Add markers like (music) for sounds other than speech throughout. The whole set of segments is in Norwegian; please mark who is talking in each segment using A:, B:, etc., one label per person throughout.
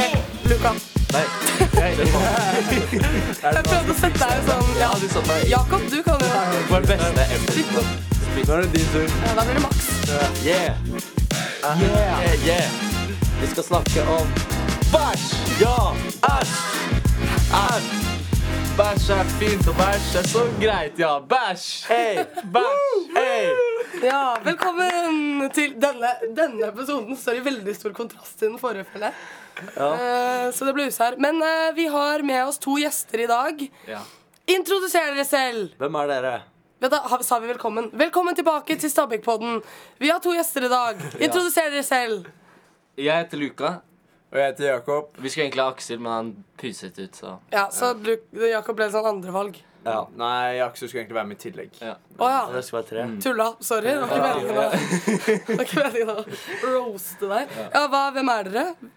A: plan.
B: Nei. Nei. Det var
A: Jeg prøvde å sette deg sånn
B: Ja,
A: ja.
B: du satt meg.
A: Jakob, du kan jo
B: Det var det beste ever.
A: Spytt opp.
C: Nå er det din tur.
A: Ja, Da blir det maks.
B: Yeah.
A: Ah.
B: Yeah, yeah. Vi skal snakke om bæsj. Ja, æsj. Æsj. Bæsj er fint, og bæsj er så greit, ja. Bæsj. Hey, bæsj. Hey.
A: Ja, velkommen til denne, denne episoden. Står i veldig stor kontrast til den forrige, føler jeg. Eh, så det blir usær. Men eh, vi har med oss to gjester i dag.
B: Ja.
A: Introduser dere selv!
B: Hvem er dere?
A: Vet du, har- sa vi velkommen. Velkommen tilbake til Stabækpodden. Vi har to gjester i (laughs) dag. Introduser dere selv.
B: Jeg heter Luka.
C: Og jeg heter Jakob.
B: Vi skulle egentlig ha Aksel, men han puset ut, så
A: Ja, så Luke, Jakob ble sånn andrevalg.
C: Ja. Nei, Aksel skulle egentlig være med i tillegg. Mm.
B: ja.
A: Å ja.
B: skal være tre.
A: Tulla. Sorry. Det var ikke meningen å-
B: (laughs)
A: det var ikke meningen å roaste deg. Ja, hva, Hvem er dere?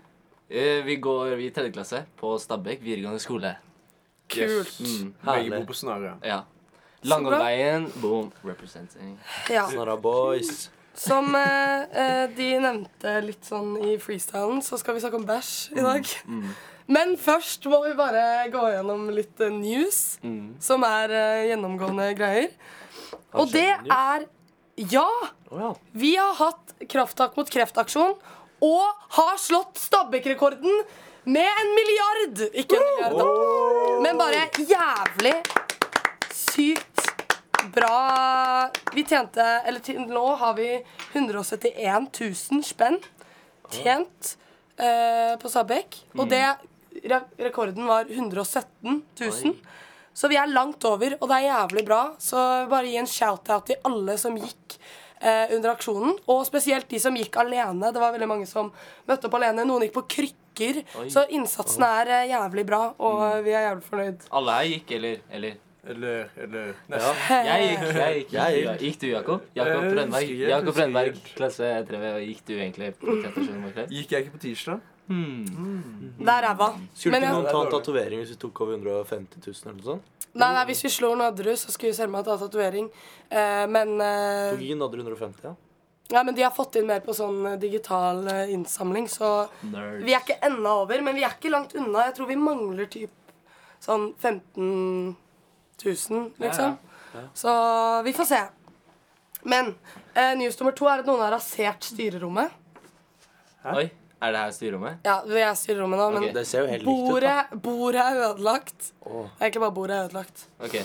B: Eh, Vi går i tredje klasse på Stabekk videregående skole. Mm,
A: Kult.
C: Mm, Begge
B: herlig.
C: bor på Snarøya.
B: Ja.
A: bra.
B: Langomveien, boom, representing.
A: Ja.
D: Snarra boys.
A: Som eh, eh, de nevnte litt sånn i freestylen, så skal vi snakke om bæsj i dag. Men først må vi bare gå gjennom litt eh, news, som er eh, gjennomgående greier. Og det er Ja! Vi har hatt Krafttak mot kreft-aksjon og har slått Stabæk-rekorden med en milliard! Ikke en milliard, da. Men bare jævlig sykt bra Vi tjente Eller til nå har vi 171 000 spenn tjent eh, på Stabekk. Og det re Rekorden var 117 000. Så vi er langt over, og det er jævlig bra. Så bare gi en shout-out til alle som gikk eh, under aksjonen. Og spesielt de som gikk alene. Det var veldig mange som møtte opp alene. Noen gikk på krykker. Så innsatsen er eh, jævlig bra, og eh, vi er jævlig fornøyd.
B: Alle her gikk, eller? eller?
C: Eller, eller nesten.
B: Jeg gikk, jeg gikk.
D: Jeg
B: gikk. du, gikk du, Jakob? Jakob
C: Jeg Eh,
B: Brennberg,
C: husker ikke, jeg
B: Jakob
C: husker
B: Brennberg
C: ikke.
B: klasse 3V. og Gikk du egentlig på kreftasjon med kreft?
C: Gikk jeg ikke på tirsdag?
A: Det er ræva.
D: Skulle
A: Men
D: ikke
A: jeg-
D: noen ta en tatovering hvis vi tok over 150 000 eller noe sånt?
A: Nei, nei, hvis vi slår Nadderud, så skulle Selma ta tatovering. Eh, men,
D: Tok
A: eh,
D: ikke Nadder 150, ja?
A: nei, men de har fått inn mer på sånn eh, digital eh, innsamling, så
B: Nerd.
A: vi er ikke enda over. Men vi er ikke langt unna. Jeg tror vi mangler typ sånn 15 000, liksom. Så vi får se. Men eh, news nummer to er at noen har rasert styrerommet.
B: Oi, er det her styrerommet?
A: Ja, det er styrerommet nå, men
B: Ok.
D: Det ser jo helt likt ut, da.
A: bordet, bordet er ødelagt. Det
D: Åh.
A: er egentlig bare bordet er ødelagt.
B: OK.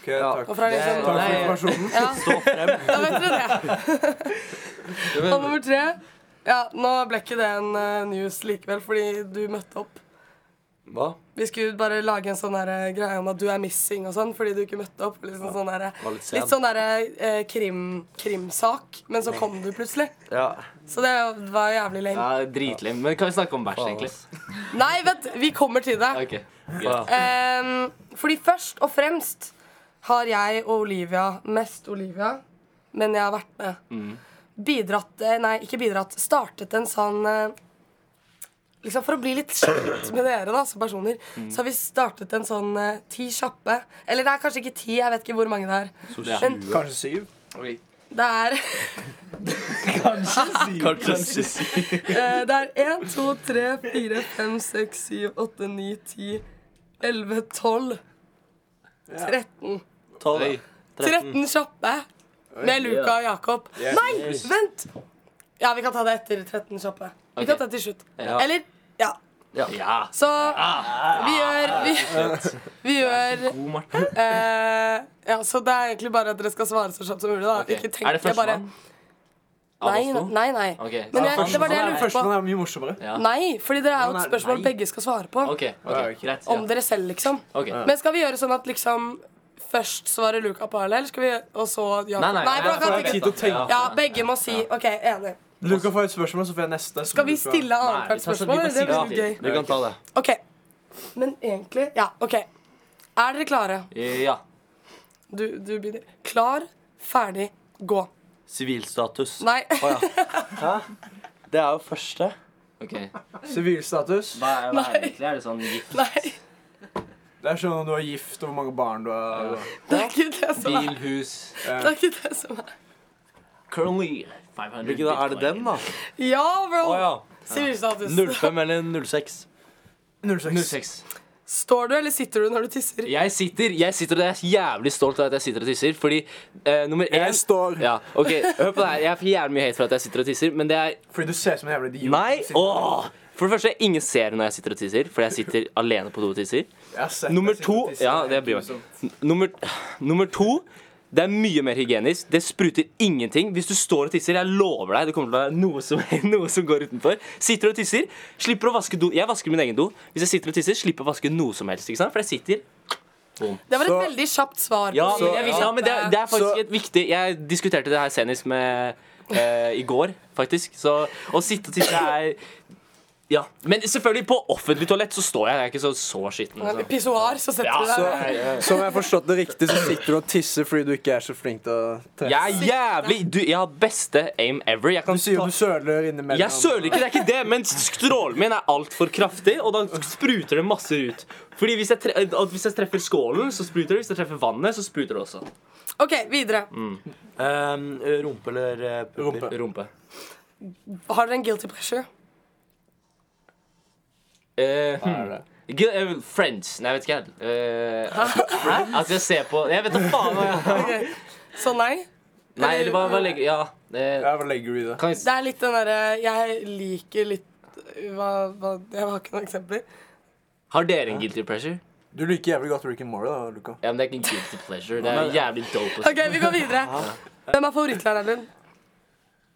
C: Ok, takk.
A: Og fra
C: Takk
A: liksom,
C: for
B: Nei.
C: informasjonen.
A: ja. (laughs) Da vet dere det. Og nummer tre Ja, nå ble ikke det en eh, news likevel, fordi du møtte opp.
D: Hva?
A: Vi skulle bare lage en sånn der, eh, greie om at du er missing og sånn, fordi du ikke møtte opp. Liksom sånn der, eh,
D: Var litt sen.
A: litt sånn der, eh, krim, krimsak, men så kom du plutselig.
D: Ja.
A: Så det var jævlig lame.
B: Ja, Dritlem. Men kan vi snakke om bæsj,
D: Faen,
B: egentlig?
D: ass.
A: Nei, vent, vi kommer til det.
B: OK.
D: Ja.
A: Ehm, fordi først og fremst har jeg og Olivia, mest Olivia, men jeg har vært med, bidratt eh, Nei, ikke bidratt. Startet en sånn eh, Liksom For å bli litt kjent med dere da, som personer, så har vi startet en sånn eh, ti kjappe. Eller det er kanskje ikke ti, jeg vet ikke hvor mange det er.
D: Så
B: Ja.
D: sjukt.
C: Kanskje syv?
B: Oi.
A: Det er Eh, Det er 1, 2, 3, 4, 5, 6, 7, 8, 9, 10, 11, 12, 13.
D: Tolv,
B: Oi.
A: 13 kjappe med Luka og Jakob.
C: Yes.
A: Nei, vent! Ja, vi kan ta det etter 13 kjappe. Vi
B: Ok.
A: kan ta det til slutt.
D: Ja.
A: Eller Ja.
B: Ja.
A: Så vi gjør Vi,
B: Ah.
A: (laughs) vi gjør
B: God, Marte.
A: eh, Ja, så det er egentlig bare at dere skal svare så kjapt som mulig, da.
B: Ok.
A: Ikke tenk
B: Er det
A: jeg bare
B: førstemann? Av
A: Nei,
B: oss to?
A: nei, nei.
B: Ok,
A: Men
B: ja,
A: jeg, det var det jeg
B: førstemann
A: lurte på.
C: Førstemann er mye morsommere.
B: Ja.
A: Nei, fordi det er jo
C: Nei,
A: et
C: nei.
A: spørsmål begge skal svare på.
B: OK,
C: Ja,
B: ok,
C: ok.
B: greit.
A: Om
B: Ja.
A: dere selv, liksom.
B: Ok.
A: Men skal vi gjøre sånn at liksom først svarer Luca på alle, eller skal vi og så Jakob?
B: Nei, nei.
A: nei bra,
B: jeg
A: kan
B: får
A: vi ikke
C: tid til å tenke.
A: Ja, begge må si. OK, enig.
C: Luka får et spørsmål, så får jeg neste.
A: Skal vi stille
B: Nei,
A: annethvert
B: vi tar
A: spørsmål?
B: så- vi
A: eller? Det
B: bare
A: blir
B: sier
A: jo gøy.
D: Vi kan ta det.
A: OK. Men egentlig Ja, OK. Er dere klare?
B: Ja.
A: Du, du begynner. Klar, ferdig, gå.
D: Sivilstatus.
A: Nei. (laughs)
D: Å ja. Hæ? Det er jo første.
B: OK.
C: Sivilstatus.
B: Hva er, hva er,
A: Nei.
B: det? er det sånn gift?
A: Nei,
C: Det er sånn om du er gift, og hvor mange barn du har. og-
A: det er ikke det som er.
B: Bil, hus
A: Det er ikke det som er.
B: Currently 500
D: Hvilken da? Er det
B: bitcoin.
D: den, da?
A: Ja,
D: Å
A: bro.
D: ja.
A: Sivilstatus.
D: 05 eller 06.
C: 06.
B: 06.
A: Står du, eller sitter du når du tisser?
B: Jeg sitter, jeg sitter og jeg er jævlig stolt av at jeg sitter og tisser, fordi eh, nummer én
C: Jeg står
B: Ja, ok, Hør på det her. Jeg får jævlig mye hate for at jeg sitter og tisser, men det er
C: fordi du ser ut som en jævla idiot.
B: Nei!
C: Sitter-
B: Åh! For det første, ingen ser når jeg sitter og tisser, fordi jeg sitter alene på do og
C: Jeg
B: tisser.
C: har sett deg
B: Nummer
C: sitte
B: to
C: og tisse.
B: Ja, det bryr meg. N- Nummer, nummer to det er mye mer hygienisk. Det spruter ingenting. Hvis du står og tisser, jeg lover deg, det kommer til å være noe som, (laughs) noe som går utenfor. Sitter og tisser, slipper å vaske do. Jeg vasker min egen do. Hvis jeg sitter og tisser, slipper jeg å vaske noe som helst. ikke sant? For jeg sitter
A: Det var et
C: Så-
A: veldig kjapt svar. på
B: Ja,
A: de
B: men, jeg, vil- ja, men det, er- det er faktisk
C: Så-
B: et viktig Jeg diskuterte det her senest med eh, i går, faktisk. Så å sitte og tisse er Ja. Men selvfølgelig, på offentlig toalett så står jeg. Jeg er ikke så, så skitten.
A: kjappe-
B: Altså.
A: Pissoar, så setter
B: Ja,
A: du deg
C: Så,
A: ned.
C: som jeg har forstått det riktig, så sitter du og tisser fordi du ikke er så flink til å tisse.
B: Jeg er jævlig du, Jeg har beste aim ever. Jeg kan
C: Du sier jo
B: ta-
C: du søler innimellom.
B: jeg søler ikke, det er ikke det, men strålen min er altfor kraftig, og da spruter det masse ut. Fordi hvis jeg, tre at hvis jeg treffer skålen, så spruter det. Hvis jeg treffer vannet, så spruter det også.
A: OK, videre.
B: Mm.
D: Um, rumpe eller eh,
C: Rumpe.
D: pupper?
B: Rumpe.
A: Har dere en guilty pleasure?
B: Eh,
C: Hva er det?
B: Gu- eh, Friends. Nei, jeg vet ikke helt. Eh, at jeg ser på Jeg vet da faen hva jeg
A: Ok, Så nei?
B: Mm. Nei, eller hva, hva legger Ja. eh,
C: Ja, Hva legger du i det?
B: kan
A: Det
B: jeg,
A: er litt den derre Jeg liker litt hva, hva, Jeg har ikke noen eksempler.
B: har dere en guilty pleasure?
C: Du liker jævlig godt Rick and Morty, da, Luka.
B: Ja, men Det er ikke en guilty pleasure. Det er jævlig dope. å si.
A: OK, vi går videre. Hvem er favorittlæreren din?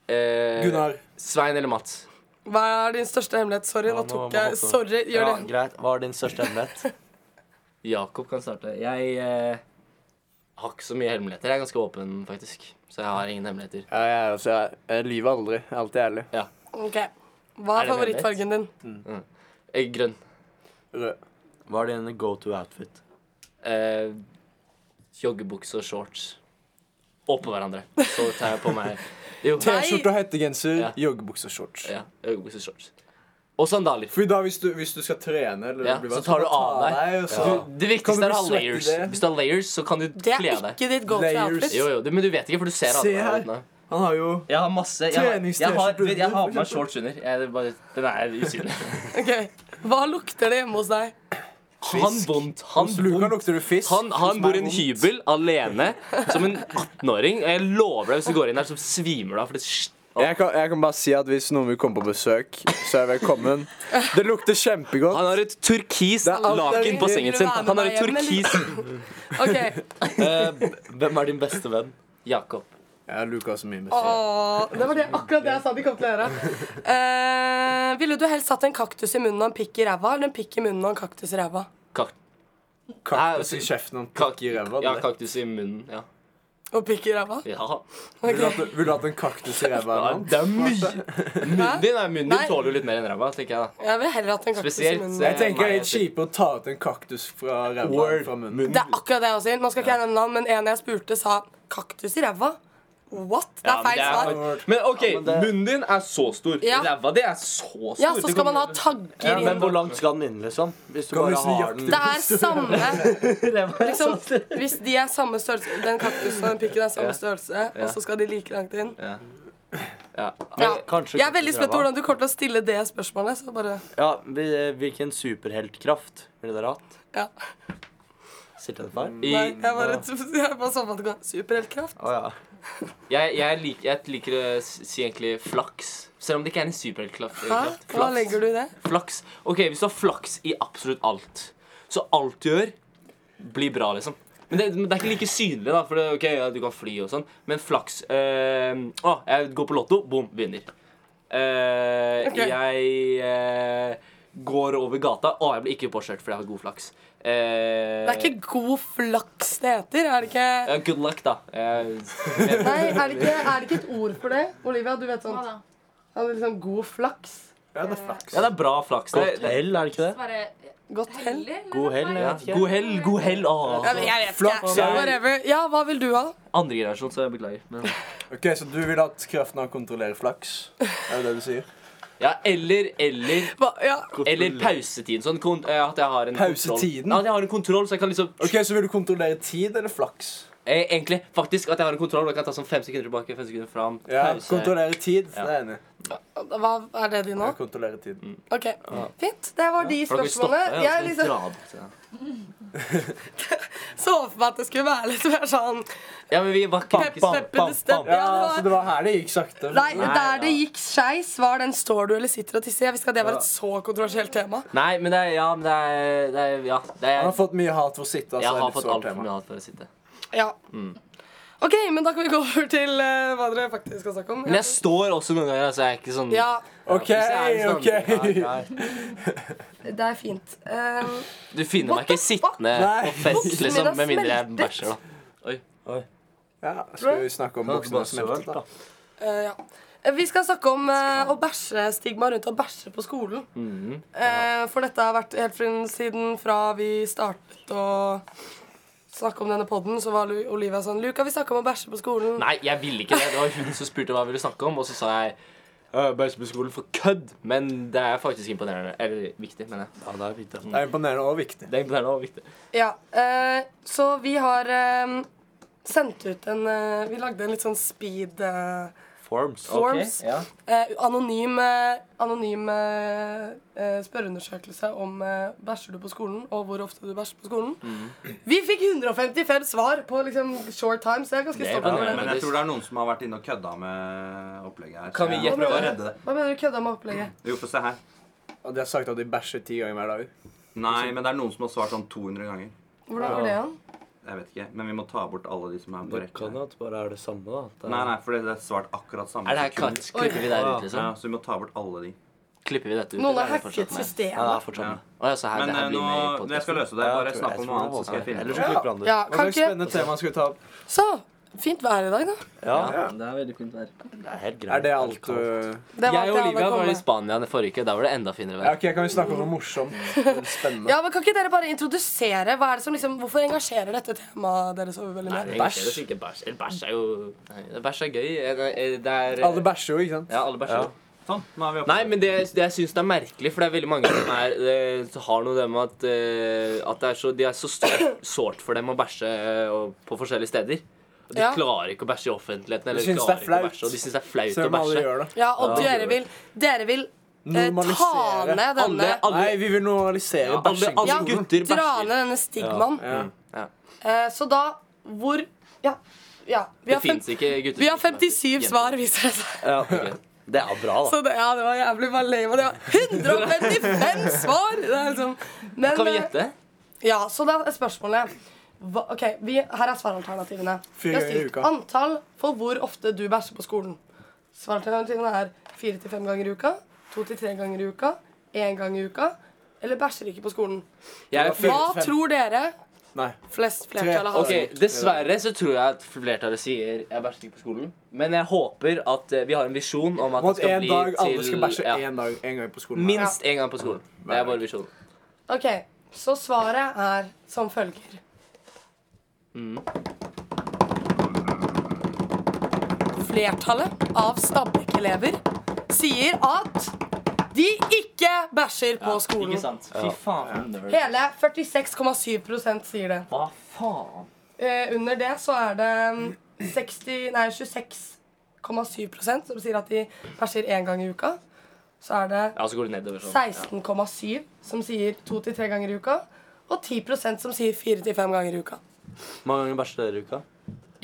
B: Eh,
C: Gunnar.
B: Svein eller Mats?
A: Hva er din største hemmelighet? Sorry,
D: Ja,
A: nå
D: nå må
A: tok
D: man
A: jeg
D: hoppe.
A: Sorry, gjør
D: Ja,
A: det.
D: greit. Hva er din største hemmelighet?
B: Jakob kan starte. Jeg eh, har ikke så mye hemmeligheter. Jeg er ganske åpen, faktisk. Så jeg har ingen hemmeligheter.
E: Ja, jeg, altså, jeg, jeg lyver aldri. Jeg er alltid ærlig.
A: Ok, Hva
B: Er
A: er
B: det
A: favorittfargen din?
B: Eh, grønn.
C: Rød.
D: Hva er din go to outfit?
B: Eh, joggebukse og shorts oppå hverandre. Så tar jeg på meg
C: (laughs)
B: Jo.
C: T-skjorte og hettegenser,
B: Ja.
C: joggebukse og shorts.
B: Ja, joggebukse og shorts. Og sandaler.
C: Fordi da, hvis du, hvis du skal trene eller
B: Ja,
C: bli
B: så
C: vant,
B: tar du
C: bare
B: av
C: ta
B: deg.
C: og så-
B: Det
C: Kan
B: viktigste
C: du
B: er å ha
C: bli svett i
B: layers.
C: det?
B: Hvis du har layers, så kan du
A: Det er
B: kle av deg.
A: ikke ditt go to
C: Layers.
A: outfit.
B: Jo, jo, det- men du vet ikke, for du ser alle
C: Se her.
B: utene.
C: Han har jo
B: Jeg har masse Jeg, har- jeg, har,
C: Treningstøy,
B: jeg, har på meg shorts under. Jeg, det er bare, den er usynlig.
A: Ok, Hva lukter det hjemme hos deg?
B: Han vondt. Han
C: Hos Luka
B: vondt.
C: lukter du fisk.
B: Han, han
C: Hos
B: bor
C: meg
B: i en
C: vondt.
B: hybel alene som en 18-åring. Og jeg lover deg, hvis du går inn der, så svimer du av. For det st-
E: Jeg kan, jeg kan bare si at hvis noen vil komme på besøk, så er jeg velkommen. Det lukter kjempegodt.
B: han har et turkis
E: Det er alt jeg
B: laken på
A: vil. Vil
B: sengen
A: du
B: sin.
A: være med
B: Han har et
A: meg hjem,
B: turkis
A: (laughs)
B: eh,
A: Ok,
D: hvem er din beste venn?
B: Jakob.
C: Ja, Luka er så mye mest.
A: Åh, Det var det, akkurat det jeg sa de kom til å gjøre. Eh, ville du helst hatt en kaktus i munnen og en pikk i ræva, eller en pikk i munnen og en kaktus i ræva?
B: Kak
C: Kaktus
B: Nei,
C: i kjeften og
B: kak-
C: kakk i ræva.
B: ja,
C: det.
B: kaktus i munnen. Ja.
A: Og pikk i ræva?
B: ja.
C: Vil du hatt- Vil du hatt en kaktus i ræva?
B: Ja,
C: mann?
B: det er mye. Munnen din, er- munnen
A: Nei.
B: din tåler jo litt mer enn ræva, tenker jeg da.
A: Jeg vil heller hatt en kaktus i
B: Spesielt,
A: munnen.
B: eh,
C: Jeg tenker det er
B: Nei,
C: litt
B: jeg-
C: kjipere å ta ut en kaktus fra ræva enn fra munnen.
A: Det er akkurat det jeg også sier. Nå skal ikke jeg nevne navn, men en jeg spurte, sa kaktus i ræva. What? Det
B: Ja,
A: er
B: men
A: feil svar.
B: faktisk- Men OK, munnen din er så stor.
A: Ja.
B: Ræva di er så stor.
A: Ja, så
B: Det
A: skal
B: kommer-
A: man ha tagger
D: Men
A: inn.
D: hvor langt skal den inn, liksom? Hvis du
C: Kan
D: bare
C: vi si
D: har den
A: Det er
B: (laughs)
A: samme liksom, Hvis de er samme størrelse Den kaktusen og den pikken er
B: sånn- Ja.
A: samme størrelse, og så skal de like langt inn
B: Ja. Ja.
A: ja.
D: kanskje
A: Jeg er veldig spent på
D: kaktusræva.
A: hvordan du kommer til å stille det spørsmålet. Så bare
D: Ja, vi- eh, Hvilken superheltkraft ville dere hatt?
A: Ja.
D: Sitter det feil?
B: I,
A: Nei, jeg bare, (laughs) jeg bare så på at det går. Superheltkraft.
D: Å ja.
B: jeg, jeg, lik, jeg liker å si egentlig flaks. Selv om det ikke er en superheltklaff.
A: Hæ?
B: klaff.
A: Hva
B: Flaks.
A: legger du i det?
B: flaks. Ok, Hvis du har flaks i absolutt alt, så alt du gjør, blir bra, liksom. Men det, men det er ikke like synlig, da. For det, ok, ja, du kan fly og sånn. Men flaks eh, Å, jeg går på Lotto. Bom, vinner. Eh,
A: Ok.
B: Jeg eh, går over gata. Å, jeg blir ikke påkjørt fordi jeg har god flaks. Eh,
A: Det er ikke god flaks det heter. Er det ikke
B: ja, Good luck, da. Eh,
A: (laughs) Nei, er det ikke, er det ikke et ord for det? Olivia, du vet sånn
F: Hva da?
A: ja, det er liksom God flaks.
C: Ja, det er flaks.
B: ja, det er bra flaks. Det,
D: Godt hell, er det ikke det?
F: Bare
A: Godt hell.
F: heller? eller?
D: God hell,
F: Nei,
D: ja.
B: ja. God hell, god ah. hell. Å,
A: Jeg, jeg vet
C: Flaks
A: ikke.
C: er-
A: Whatever. Ja, hva vil du ha?
B: andre generasjon, så jeg beklager. Men.
C: Ok, Så du vil at kraften av å kontrollere flaks? Er det det du sier?
B: Ja, eller, eller
A: Hva, ja.
B: Eller pausetiden. Sånn kon eh, at jeg har en
C: Pausetiden?
B: kontroll. Ja, at jeg har en kontroll, så jeg kan liksom
C: Ok, Så vil du kontrollere tid eller flaks?
B: eh, Egentlig, faktisk, at jeg har en kontroll. Og jeg kan ta sånn fem sekunder tilbake, fem sekunder fram.
C: Ja,
B: pause.
C: Kontrollere tid. Det
B: Ja. Mm.
C: er jeg enig. i.
A: Hva er det de nå?
C: Jeg kontrollerer tiden.
A: OK. Fint. Det var de
B: Folk vil stoppe
A: spørsmålene.
B: deg,
A: Jeg
B: og så
A: liksom
B: dra bort, ja.
A: så for meg at det skulle være litt mer sånn
B: Ja, men vi var ikke
A: pep, pep, bestemt. Ja, det var-
C: så det var her det gikk sakte.
A: Nei,
B: Nei,
A: der
B: ja.
A: det gikk skeis, var den står du eller sitter og tisser. Jeg visste ikke at det var et så kontroversielt tema.
B: Nei, men det er Ja, men det er, det er Ja. Det er,
C: Han har fått mye hat for å sitte. Altså,
B: jeg
C: det er
B: har
C: litt
B: fått
C: sårt
B: altfor
C: tema.
B: mye hat for å sitte.
A: Ja.
B: Mm.
A: OK, men da kan vi gå over til eh, hva dere faktisk skal snakke om.
B: Men jeg står også noen ganger, så jeg er ikke sånn
A: Ja,
C: OK, OK.
A: det er fint. Um,
B: Du finner meg ikke sittende
C: Nei.
B: på fest,
A: Buksene
B: liksom,
A: mine
B: med mindre jeg
A: smeltet.
B: bæsjer, da.
C: (laughs) Ja, skal vi snakke om buksene som smeltet, da?
A: Eh, ja. Eh, Vi skal snakke om eh, å bæsje, stigma rundt å bæsje på skolen. Eh, for dette har vært helt fra- siden fra vi startet å snakke om denne podden, så var Lu- Olivia sånn Luka, vi snakker om å bæsje på skolen.
B: Nei, jeg ville ikke det. Det var hun som spurte hva jeg ville snakke om, og så sa jeg «Øh, Bæsje på skolen for kødd. Men det er faktisk imponerende. Eller viktig, mener jeg.
D: Ja, det er altså. fint,
C: Det er imponerende og viktig.
B: Det er imponerende og viktig.
A: Ja, eh, så vi har eh, sendt ut en eh, Vi lagde en litt sånn speed eh,
D: Forms.
A: forms.
B: Ok, ja.
A: Eh, anonym eh, anonym eh, eh, spørreundersøkelse om eh, bæsjer du på skolen, og hvor ofte du bæsjer på skolen. Vi fikk 155 svar på liksom, short time, så jeg er ganske
B: Det
A: stolt
B: var
A: over
B: det.
A: det.
F: Men jeg tror det er noen som har vært inne og kødda med opplegget her.
B: Kan vi
F: så
B: gjette
F: jeg må prøve
B: hva
F: å
B: det
F: redde det?
A: Hva mener du kødda med opplegget?
F: Jo, få se her.
C: Og de har sagt at de bæsjer ti ganger hver dag.
F: Nei, men det er noen som har svart sånn 200 ganger.
A: Hvordan var det igjen?
F: Jeg vet ikke, Men vi må ta bort alle de som er på
D: Det
F: rekke.
D: kan jo at det bare er det samme, da. at det er-
F: Nei, nei, for det er svart akkurat
B: Er
F: samme
B: det her
F: sekund.
B: cut? Klipper vi det her ut,
F: Ja,
B: liksom?
F: så vi må ta bort alle de.
B: Klipper vi dette ut?
A: Noen
B: eller
A: har
B: er det fortsatt
A: hacket
B: med?
D: Ja, det er
A: systemet.
D: fortsatt med.
B: Å ja, så her,
F: Men
B: det her
F: eh, nå,
B: blir med i podcasten.
F: jeg skal løse det. Bare
D: Jeg tror-
F: snakk
D: jeg
F: om
D: tror
F: noe
D: det
F: annet, så skal jeg
D: var-
F: finne
D: Ellers
F: det.
D: så klipper han det ut.
A: Ja,
C: Hva
A: kan
C: slags
A: ikke
C: spennende tema skal vi ta opp?
A: Så fint vær i dag, da.
D: Ja,
B: Det er veldig fint vær.
D: det er helt greit.
C: Er det alt eh, du
A: Det var
B: Jeg
A: alt
B: og
A: hadde
B: Olivia
A: å komme
B: var i
A: med.
B: Spania den forrige uke. Da var det enda finere
C: Ja,
B: vær.
C: OK, kan vi snakke om noe
A: (laughs)
C: morsomt? eller Spennende.
A: ja, men Kan ikke dere bare introdusere? Hva er det som liksom, Hvorfor engasjerer dette temaet dere så veldig mye?
B: Bæsj? Bæsj Eller bæsj er jo Nei, Bæsj er gøy. Eh, nei, eh, Det er
C: Alle bæsjer jo, ikke sant?
B: Ja, alle bæsjer.
F: Sånn, nå er vi oppe.
B: Nei, men det, det jeg syns det er merkelig, for det er veldig mange som er, eh, har noe det med at, eh, at det er så, de er så stor- sårt for dem å bæsje eh, og- på forskjellige steder. Og de
A: Ja.
B: klarer ikke å bæsje i offentligheten. Eller
C: synes det er
B: klarer ikke å
C: flaut.
B: bæsje, og de syns det er flaut
C: Selv
B: å
C: om alle
B: bæsje.
C: gjør det.
A: Ja, og dere vil, dere vil eh, ta
C: Normalisere.
A: ned denne
B: Alle, alle,
C: Nei, vi vil normalisere
B: alle,
C: bæsjing.
B: alle gutter
A: Dra ned
B: bæsjer.
A: denne stigmaen.
C: Altså, Ja.
A: Eh, så da Hvor Ja. ja. Vi,
B: Det
A: har fem,
B: fins ikke gutter
A: vi har
B: som bæsjer.
A: 57 svar, viser det seg.
D: Ja, ok. Det er bra, da.
A: Så det, ja, det var jævlig bare lame. Det var 155 svar! Det er liksom Men,
B: Kan vi
A: eh,
B: gjette?
A: Ja, så da er spørsmålet hva, Ok, vi, Her er svaralternativene. Vi
C: Fire
A: har
C: ganger i
A: stilt
C: uka.
A: Antall for hvor ofte du bæsjer på skolen. Svaralternativene er fire til fem ganger i uka, to til tre ganger i uka, én gang i uka eller bæsjer ikke på skolen.
B: Jeg er
A: Hva
C: til fem.
A: tror dere
C: Nei.
A: flest flertallet har?
B: Ok, Dessverre så tror jeg at flertallet sier jeg bæsjer ikke på skolen. Men jeg håper at eh, vi har en visjon om
C: Om
B: at det
C: at
B: skal
C: en
B: bli
C: dag alle
B: til
C: skal bæsje
B: ja,
C: en dag en gang på skolen.
B: minst én gang på skolen. Det er vår visjon.
A: Ok, så svaret er som følger. Flertallet av Stabekk-elever sier at de ikke bæsjer på skolen.
B: sant? Fy faen. nerd.
A: Hele 46,7 sier det.
B: Hva faen?
A: Eh, under det så er det mm, 60, nei, 26,7 som sier at de bæsjer én gang i uka. Så er det
B: Ja, så går det nedover sånn.
A: 16,7 som sier to til tre ganger i uka, og 10 som sier fire til fem ganger i uka.
D: Mange ganger bæsjer dere i uka?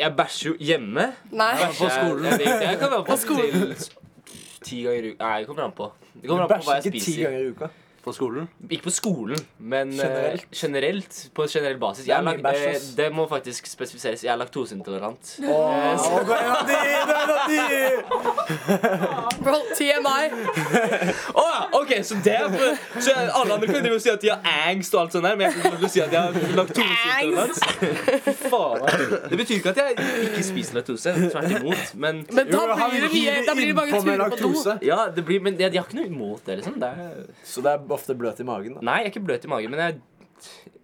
B: Jeg bæsjer jo hjemme.
A: Nei.
B: På
C: altså.
B: skolen. Jeg, jeg, jeg kan være (laughs) på skolen ti ganger i uka. Nei, det kommer an på. Det kommer an på
C: Bæsjer
B: hva jeg
C: ikke ti
B: spiser.
C: ganger
B: (laughs)
C: i uka.
D: På skolen?
B: Ikke på skolen, men generelt.
C: Generelt.
B: generelt på generell basis.
C: er
B: Jeg er lak-
C: mye bæsj,
B: eh,
C: ass.
B: det må faktisk spesifiseres. Jeg er laktoseintolerant.
C: Å, det er en av de, det er en av de!
A: Bro, TMI.
B: Å ja, ok, så det er for, Så alle andre kan drive og si at de har angst og alt sånt der, men jeg kan ikke si at jeg har laktoseintolerans. Fy faen, ass. Det betyr ikke at jeg ikke spiser laktose, tvert imot, men
A: Men da
C: Jo, han
A: blir det, mye,
C: hiver
A: da blir det mange
C: innpå med
A: turer på do.
C: laktose.
B: ja, det blir, men jeg, jeg har ikke noe imot det, liksom. Det er,
C: Så det er ofte bløt i magen. da.
B: nei, jeg er ikke bløt i magen, men jeg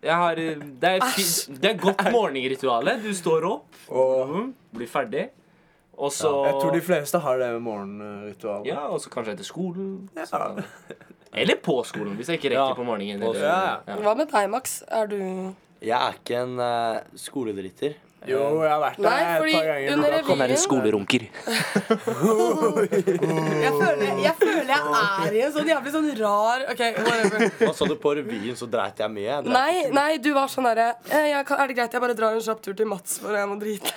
B: jeg har, eh, det, er, fi- det er godt morgenrituale. Du står opp,
C: Og
B: blir ferdig, Mhm. og så
C: jeg tror de fleste har det med morgenritualet.
B: Ja, og så kanskje etter skolen. så- Eller på skolen, hvis jeg ikke rekker
D: Ja.
B: på morgenen.
D: På
B: Eller,
C: skolen.
B: ja.
A: Hva med deg, Max? Er du
D: Jeg er ikke en eh, skoledritter.
C: Jo, jeg har vært
A: Nei,
C: der et
A: fordi
C: par ganger.
A: under
B: Han er en
A: revyen
B: skolerunker.
A: jeg føler, jeg føler jeg er i en sånn jævlig sånn rar OK, whatever.
D: Hva sa du på revyen, så dreit jeg mye. Jeg dreit.
A: Nei, nei, du var sånn derre eh, jeg kan- Er det greit jeg bare drar en kjapp tur til Mats, for jeg må drite?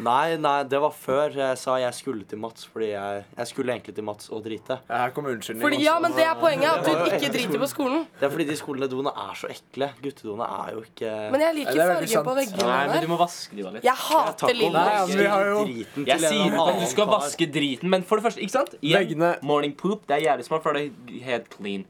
D: Nei, nei, det var før jeg sa jeg skulle til Mats, fordi jeg, jeg skulle egentlig til Mats og drite.
C: Ja, Her kommer unnskyldning.
A: Fordi,
C: også.
A: ja, men det er poenget, at du ikke driter på skolen.
D: Det er fordi de skoledoene er så ekle. Guttedoene er jo ikke
A: Men jeg
C: Ja, det
A: liker
C: er veldig
A: fargen på
C: sant.
A: veggene
B: men du
A: der.
B: må vaske de da litt.
A: Jeg hater lilla.
C: Nei, altså, vi har jo-
D: driten
B: Jeg
D: til en
B: sier ikke at du
D: annen
B: skal
D: kar.
B: vaske driten, men for det første, ikke sant? Igjen,
C: Veggene-
B: Morning poop, det er jævlig smart, for det er helt clean.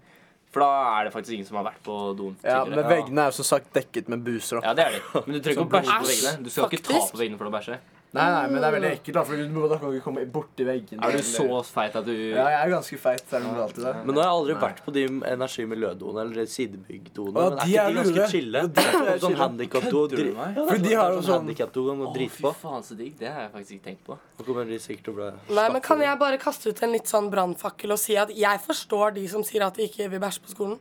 B: For da er det faktisk ingen som har vært på doen
C: Ja,
B: tidligere.
C: men veggene er jo som sagt dekket med buser. Da.
B: Ja, det er det. Men du trenger ikke å bæsje på
A: Æsj,
B: veggene. Du skal ikke ta
A: faktisk.
B: på veggene for å bæsje.
C: Nei, nei, men det er veldig ekkelt, da, for du må da kan du ikke komme borti veggene.
B: Er du så feit at du
C: Ja, jeg er ganske feit. Er det noe alltid det?
D: Men nå har jeg aldri vært på de energi- og miljødoene eller sidebyggdoene.
C: Å,
D: Men
C: de
D: er
C: er
D: ikke de ganske
C: røde.
D: chille?
C: Ja, de er
D: Sånn
C: chille.
D: handikapdo og dri-
B: meg?
C: For de har jo
D: sånn
C: sånn
D: handikapdo og
B: Å,
D: drite på.
B: fy faen, så digg. Det har jeg faktisk ikke tenkt på.
D: Nå kommer de sikkert til å bli
A: Nei, men Kan jeg bare kaste ut en litt sånn brannfakkel og si at jeg forstår de som sier at de ikke vil bæsje på skolen?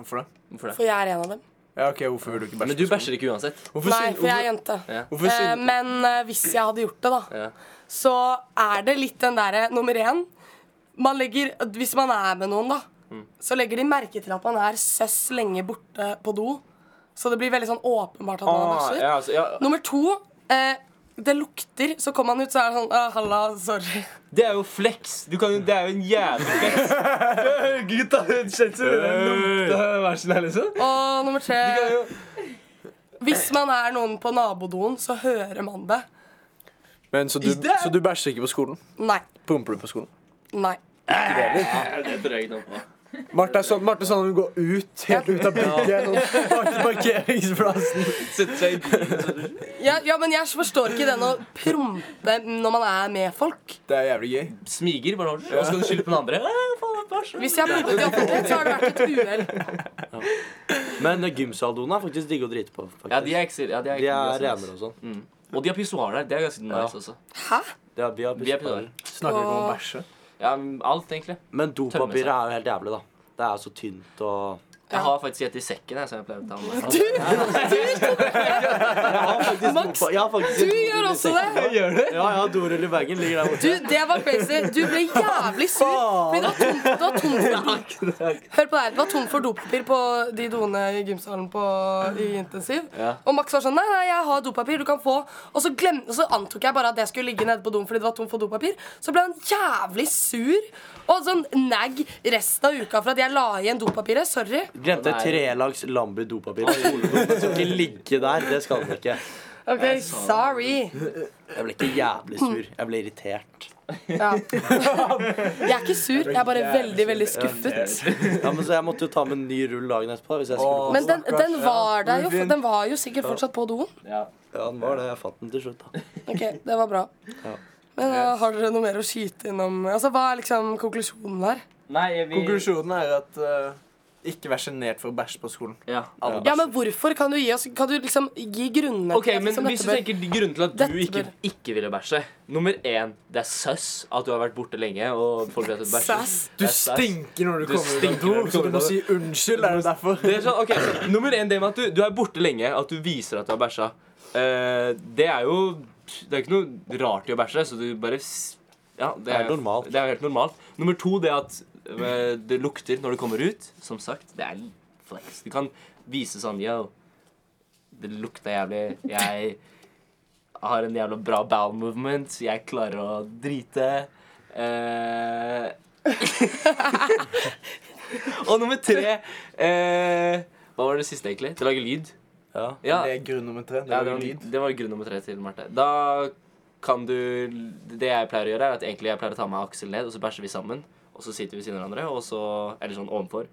C: Hvorfor det?
B: Hvorfor det?
A: For jeg er en av dem.
C: Ja, ok, hvorfor vil du ikke
B: Men
C: bæsje?
B: du bæsjer ikke uansett.
C: Hvorfor
A: Nei,
C: sier-
A: for jeg er jente.
C: hvorfor
A: Eh,
C: sier-
A: men eh, hvis jeg hadde gjort det, da,
B: Ja.
A: så er det litt den derre nummer én man legger, Hvis man er med noen, da,
C: Mm.
A: så legger de merke til at man er søss lenge borte på do. Så det blir veldig sånn åpenbart at man
C: Ah,
A: bæsjer.
B: ja, altså, ja.
A: Nummer to eh, det lukter, så kommer man ut, så er det sånn «Ah, Halla, sorry.
B: Det er jo flex. Du kan, jo- det er jo en jævlig flex. (laughs) Gutta, kjent som den lukta bæsjen her, liksom.
A: Og nummer tre Hvis man er noen på nabodoen, så hører man det.
C: Men, så, du, så du bæsjer ikke på skolen?
A: Nei.
C: Pumper du på skolen?
A: Nei.
B: Det tror jeg ikke noe på.
C: Marte er sånn, Marte er sånn hun går ut, helt ut av (laughs) bygget, og bak til parkeringsplassen.
B: Sette seg i bilen.
A: Ja, ja, men jeg forstår ikke den å prompe når man er med folk.
C: Det er jævlig gøy.
B: Smiger, bare over. Og så kan du skylde på den (laughs) andre. «Æ, faen, bæsj.
A: Hvis jeg har prompet i offentlighet, så har det vært et uhell.
D: Men gymsaldoene er faktisk digge å drite på. faktisk.
B: Ja, de er Mm. ikke så- ja, de er,
D: De
B: ikke
D: er
B: ganske nice.
D: renere og sånn.
B: Og de har pissoar der. Det er ganske nice
D: Ja.
B: også.
A: Hæ?
D: De har- de har
B: De har
D: pissoar.
B: pissoar.
C: Snakker ikke om å bæsje.
B: Ja, men alt, egentlig.
D: Men
B: Tømme seg.
D: dopapiret er jo helt jævlig, da. Det er så tynt og
B: Jeg har faktisk et i sekken, jeg, som jeg pleier å ta med.
A: Du, du, Max,
D: Jeg har faktisk
A: du gjør også det.
B: Gjør det?
D: Ja, ja, dorull i bagen ligger der borte.
A: Du, det var crazy. Du ble jævlig sur. Fordi det var tomt, det var tomt for dop. Hør på det her. Det var tomt for dopapir på de doene i gymsalen på, i intensiv. Og Max var sånn Nei, nei, jeg har dopapir. Du kan få. Og så, glem, og så antok jeg bare at jeg skulle ligge nede på doen fordi det var tomt for dopapir. Så ble han jævlig sur. Og sånn nag resten av uka for at jeg la igjen dopapiret. Sorry.
D: Glemte
B: Nei.
D: trelags lambi dopapir. på skoledoen. Den skal ikke ligge der. Det skal den ikke.
A: OK, sorry.
D: Jeg ble ikke jævlig sur. Jeg ble irritert.
A: Ja. (laughs) Jeg er ikke sur. Jeg er bare veldig, veldig skuffet.
D: Ja, men Så jeg måtte jo ta med en ny rull dagen etterpå. Hvis jeg skulle på.
A: Men den, den var der jo. Den var jo sikkert fortsatt på doen.
B: Ja.
D: Ja, den var det. Jeg fant den til slutt, da.
A: Ok, det var bra. Men eh, har dere noe mer å skyte innom? Altså, Hva er liksom konklusjonen der?
B: Nei, jeg- vi
C: Konklusjonen er at eh, ikke vær sjenert for å bæsje på skolen.
B: Ja.
C: Alle
A: Ja, men hvorfor? Kan du gi oss Kan du liksom gi grunnene liksom,
B: Ok, men
A: som
B: Hvis du
A: bør-
B: tenker grunnen til at du
A: Dette
B: ikke,
A: bør-
B: ikke ville bæsje Nummer én, det er søss at du har vært borte lenge. Og folk vet at du bæsjer
A: Sass.
C: Du
B: Det er sæsj.
C: stinker når du
B: Du
C: kommer ut av
B: stinker
C: do,
B: når
C: så
B: du
C: du
B: kommer
C: må
B: ut av
C: si unnskyld. Er det derfor?
B: Det er sånn, ok, så Nummer én, det med at du, du er borte lenge, at du viser at du har bæsja. Eh, det er jo Det er ikke noe rart i å bæsje, så du bare s- ja, det,
D: er normalt.
B: Det er jo helt normalt. Nummer to, det at eh, det lukter når du kommer ut. Som sagt, det er flex. Du kan vise sånn Yo, det lukta jævlig. Jeg har en jævla bra bowel movement. Jeg klarer å drite. Eh, (laughs) og nummer tre eh, Hva var det siste, egentlig? Til å lage lyd?
D: Ja.
B: Ja,
C: Det er grunn nummer tre. Det
B: ja,
C: er
B: det, var,
C: lyd.
B: det var grunn nummer tre til Marte. Da kan du Det jeg pleier å gjøre, er at egentlig jeg pleier å ta med Aksel ned, og så bæsjer vi sammen. Og så sitter vi ved siden av hverandre, og så, eller sånn ovenfor.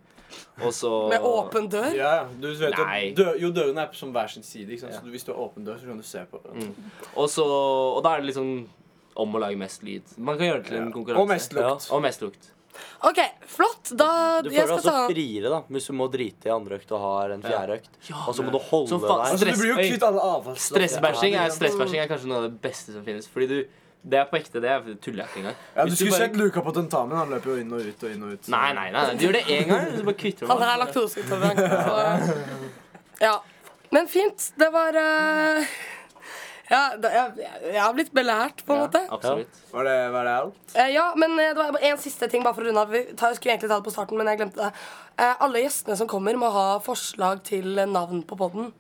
B: Og så
C: (laughs)
A: Med åpen dør?
C: Ja, ja. Du vet jo
B: Nei.
C: at dø, jo, dørene er på som hver sin side. Ikke sant? Så du- hvis du har åpen dør, så kan du se på.
B: Og så Og da er det liksom om å lage mest lyd. Man kan gjøre det til en konkurranse.
C: Og mest lukt.
B: Ja, og mest lukt.
A: OK, flott. Da
D: Du
A: jeg
D: føler deg
A: skal
D: altså
A: ta
D: friere da hvis du må drite i andre økt og har en fjerde økt. Og så må du holde
B: Som faen.
D: deg
C: Altså, du blir jo
B: Stress-
C: kvitt alle avfallsstoffene.
B: Stressbæsjing er, stressbæsjing er kanskje noe av det beste som finnes. Fordi du Det er på ekte, det er- tuller jeg ikke engang.
C: Ja, du
B: Hvis
C: skulle
B: bare-
C: sett Luka på tentamen. Han løper jo inn og ut og inn og ut.
B: Nei, nei, nei. nei. Du gjør det én gang, så bare kvitter du
A: Han er laktoseintolerant. så- Ja. Men fint. Det var eh, (laughs) Ja, da, jeg, jeg, jeg har blitt belært, på en måte.
B: Absolutt.
C: Var det, var det (laughs) alt?
A: Eh, ja, men eh, det var en siste ting bare for å runde av. Vi tar, skulle egentlig ta det på starten, men jeg glemte det. Eh, alle gjestene som kommer, må ha forslag til eh, navn på podden.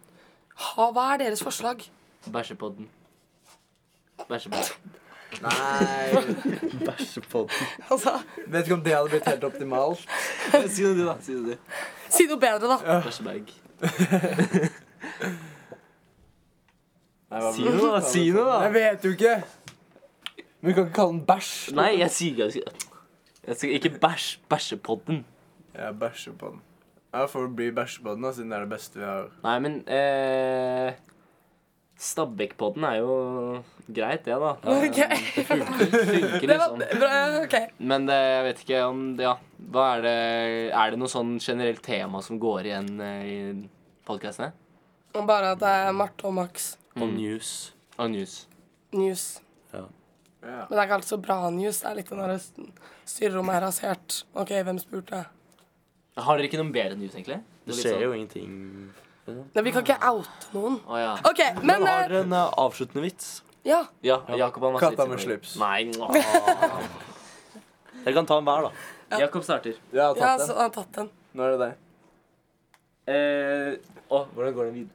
A: Ha, hva er deres forslag? (laughs)
B: Bæsjepodden. (laughs) Bæsjepodden.
G: Nei,
A: Altså,
G: vet ikke om det hadde blitt helt optimalt.
B: si det, du, da. Si det, du.
A: si noe bedre, da.
B: Bæsjebag.
G: Nei, hva-
B: Si noe, da. Si noe,
G: Jeg
B: da.
G: vet jo ikke. Men vi kan ikke kalle den bæsj.
B: Nei, jeg sier jeg sier- jeg sier ikke bæsj. Bæsjepodden.
C: Jeg bæsjer på den. Jeg får bli bæsje på den, da, siden det er det beste vi har.
B: Nei, men eh, Stabbekkpodden er jo greit, (laughs) det, da.
A: Ok.
B: Det funker, funker
A: (laughs) Det var
B: liksom.
A: bra. Ok.
B: Men det, jeg vet ikke om Ja, hva er det Er det noe sånn generelt tema som går igjen eh, i podkastene?
A: Bare at det er Marte og Max.
B: Mm.
D: Og news.
B: Og news.
A: News. Men det er ikke alltid så bra news. Det er litt den derre st- styrerommet er rasert. OK, hvem spurte?
B: Har dere ikke noe bedre news, egentlig?
D: Det skjer jo ingenting.
A: Nei, vi kan ikke oute noen.
B: sånn- Å ja.
A: OK, men
D: Men har
A: eh,
D: dere en eh, avsluttende vits?
A: Ja.
B: ja. Jakob har masse
C: Katta
B: vitser
C: med
B: på det.
C: slips.
B: Nei, åh.
D: Dere kan ta en hver, da.
B: Jakob starter.
C: Jeg har
A: Jeg har
C: tatt den.
A: han tatt den.
C: Nå er det deg.
B: Eh, å, hvordan går den videre?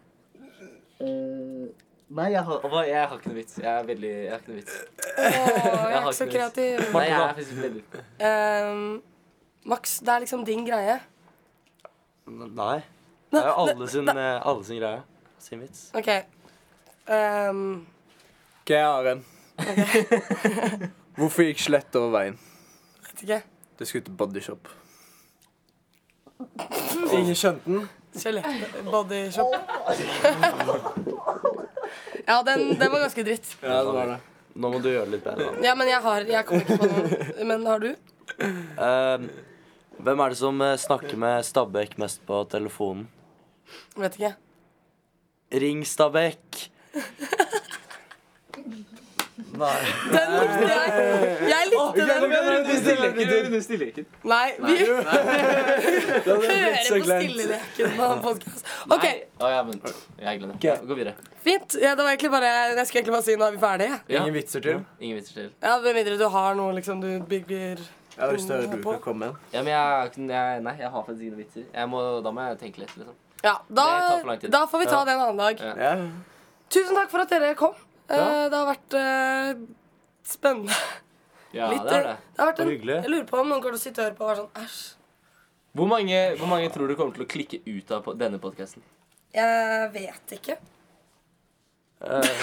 B: nei, jeg har, hva- jeg har ikke noe vits. Jeg er veldig Jeg har ikke noe vits.
A: Å, jeg er
B: har
A: ikke så
B: ikke news.
A: kreativ.
B: Nei, jeg er faktisk veldig
A: Ehm, Max, det er liksom din greie.
D: Nei. Det er jo alle sin, eh, alle sin greie. Sin vits.
A: OK. Ehm,
C: Ok, jeg har en.
B: (laughs)
C: Hvorfor gikk skjelett over veien?
A: vet ikke.
C: Det skulle til bodyshop.
G: Ingen skjønte den.
A: Skjelettet. Bodyshop. ja, den, den var ganske dritt.
C: Ja, det var det.
D: Nå må du gjøre det litt bedre. da.
A: Ja, men jeg har Jeg kom ikke på noen. Men har du?
D: Eh, hvem er det som eh, snakker med Stabæk mest på telefonen?
A: Vet ikke.
D: Ring Stabæk!
A: Den likte jeg. Jeg likte den. Nei, vi (laughs) hører på stilleleken på podcast. OK,
B: Nei, Å ja, vent. Jeg glemmer det. Gå videre.
A: fint. Ja, det var egentlig bare Jeg skulle egentlig bare si nå er vi ferdige.
B: Ja.
C: Ingen vitser til?
B: Ingen vitser til.
A: Ja, Med mindre du har noe liksom du bygger
C: Jeg har lyst til å høre du kan komme igjen.
B: Ja, men jeg, har ikke- jeg Nei, jeg har faktisk ingen vitser. Jeg må, da må jeg tenke litt, liksom.
A: Ja, da,
B: tar for lang tid.
A: da får vi ta det en annen dag.
B: Ja.
C: Ja.
A: Tusen takk for at dere kom. Eh, Det har vært eh, spennende.
B: Ja,
A: Litt,
B: det er det.
A: eh, det har vært en,
D: hyggelig.
A: jeg lurer på om noen kommer til å sitte og høre på og være sånn æsj.
B: Hvor mange, hvor mange tror du kommer til å klikke ut av po- denne podkasten?
A: Jeg vet ikke.
B: Eh.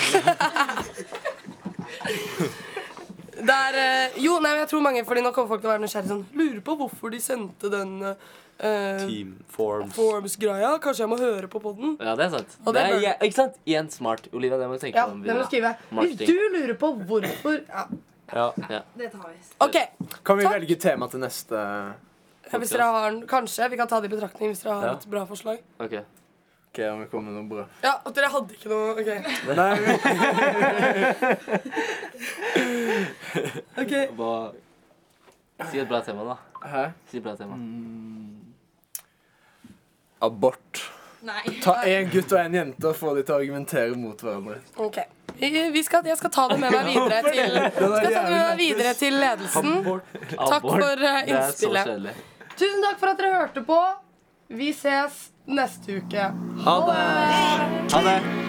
A: (laughs) det er eh, Jo, nei, men jeg tror mange, fordi nå kommer folk til å være nysgjerrige sånn Lurer på hvorfor de sendte den eh,
D: Team Forms.
A: Forms-greia. Kanskje jeg må høre på podden
B: Ja, det er sant.
A: Og
B: det
A: det
B: er,
A: bør-
B: ja, ikke sant? Igjen smart. Olivia, det må du tenke
A: Ja,
B: på. om
A: det må
B: Sånn videre.
A: du skrive. Hvis
B: Marketing.
A: du lurer på hvorfor ja.
D: Ja.
H: Det tar vi.
A: OK.
C: Kan vi
A: Takk.
C: velge tema til neste
A: Ja, Hvis dere har, kanskje vi kan ta det i betraktning hvis dere har et bra forslag.
B: Ok.
C: Ok, om vi kommer med noe bra.
A: Ja, at dere hadde ikke noe OK.
C: Nei, vi-
A: Ok.
B: Hva Si et bra tema, da.
C: Hæ?
B: Si et bra tema.
A: Mm.
C: Abort.
H: Nei.
C: Ta én gutt og én jente og få de til å argumentere mot hverandre.
A: ok. Vi- Vi skal, jeg skal ta det med
B: (laughs)
A: meg videre til, skal ta det med meg videre til ledelsen. Takk
B: Abort.
A: for eh,
B: Det er så
A: innspillet.
B: kjedelig.
A: Tusen takk for at dere hørte på. Vi ses neste uke.
D: Ha det!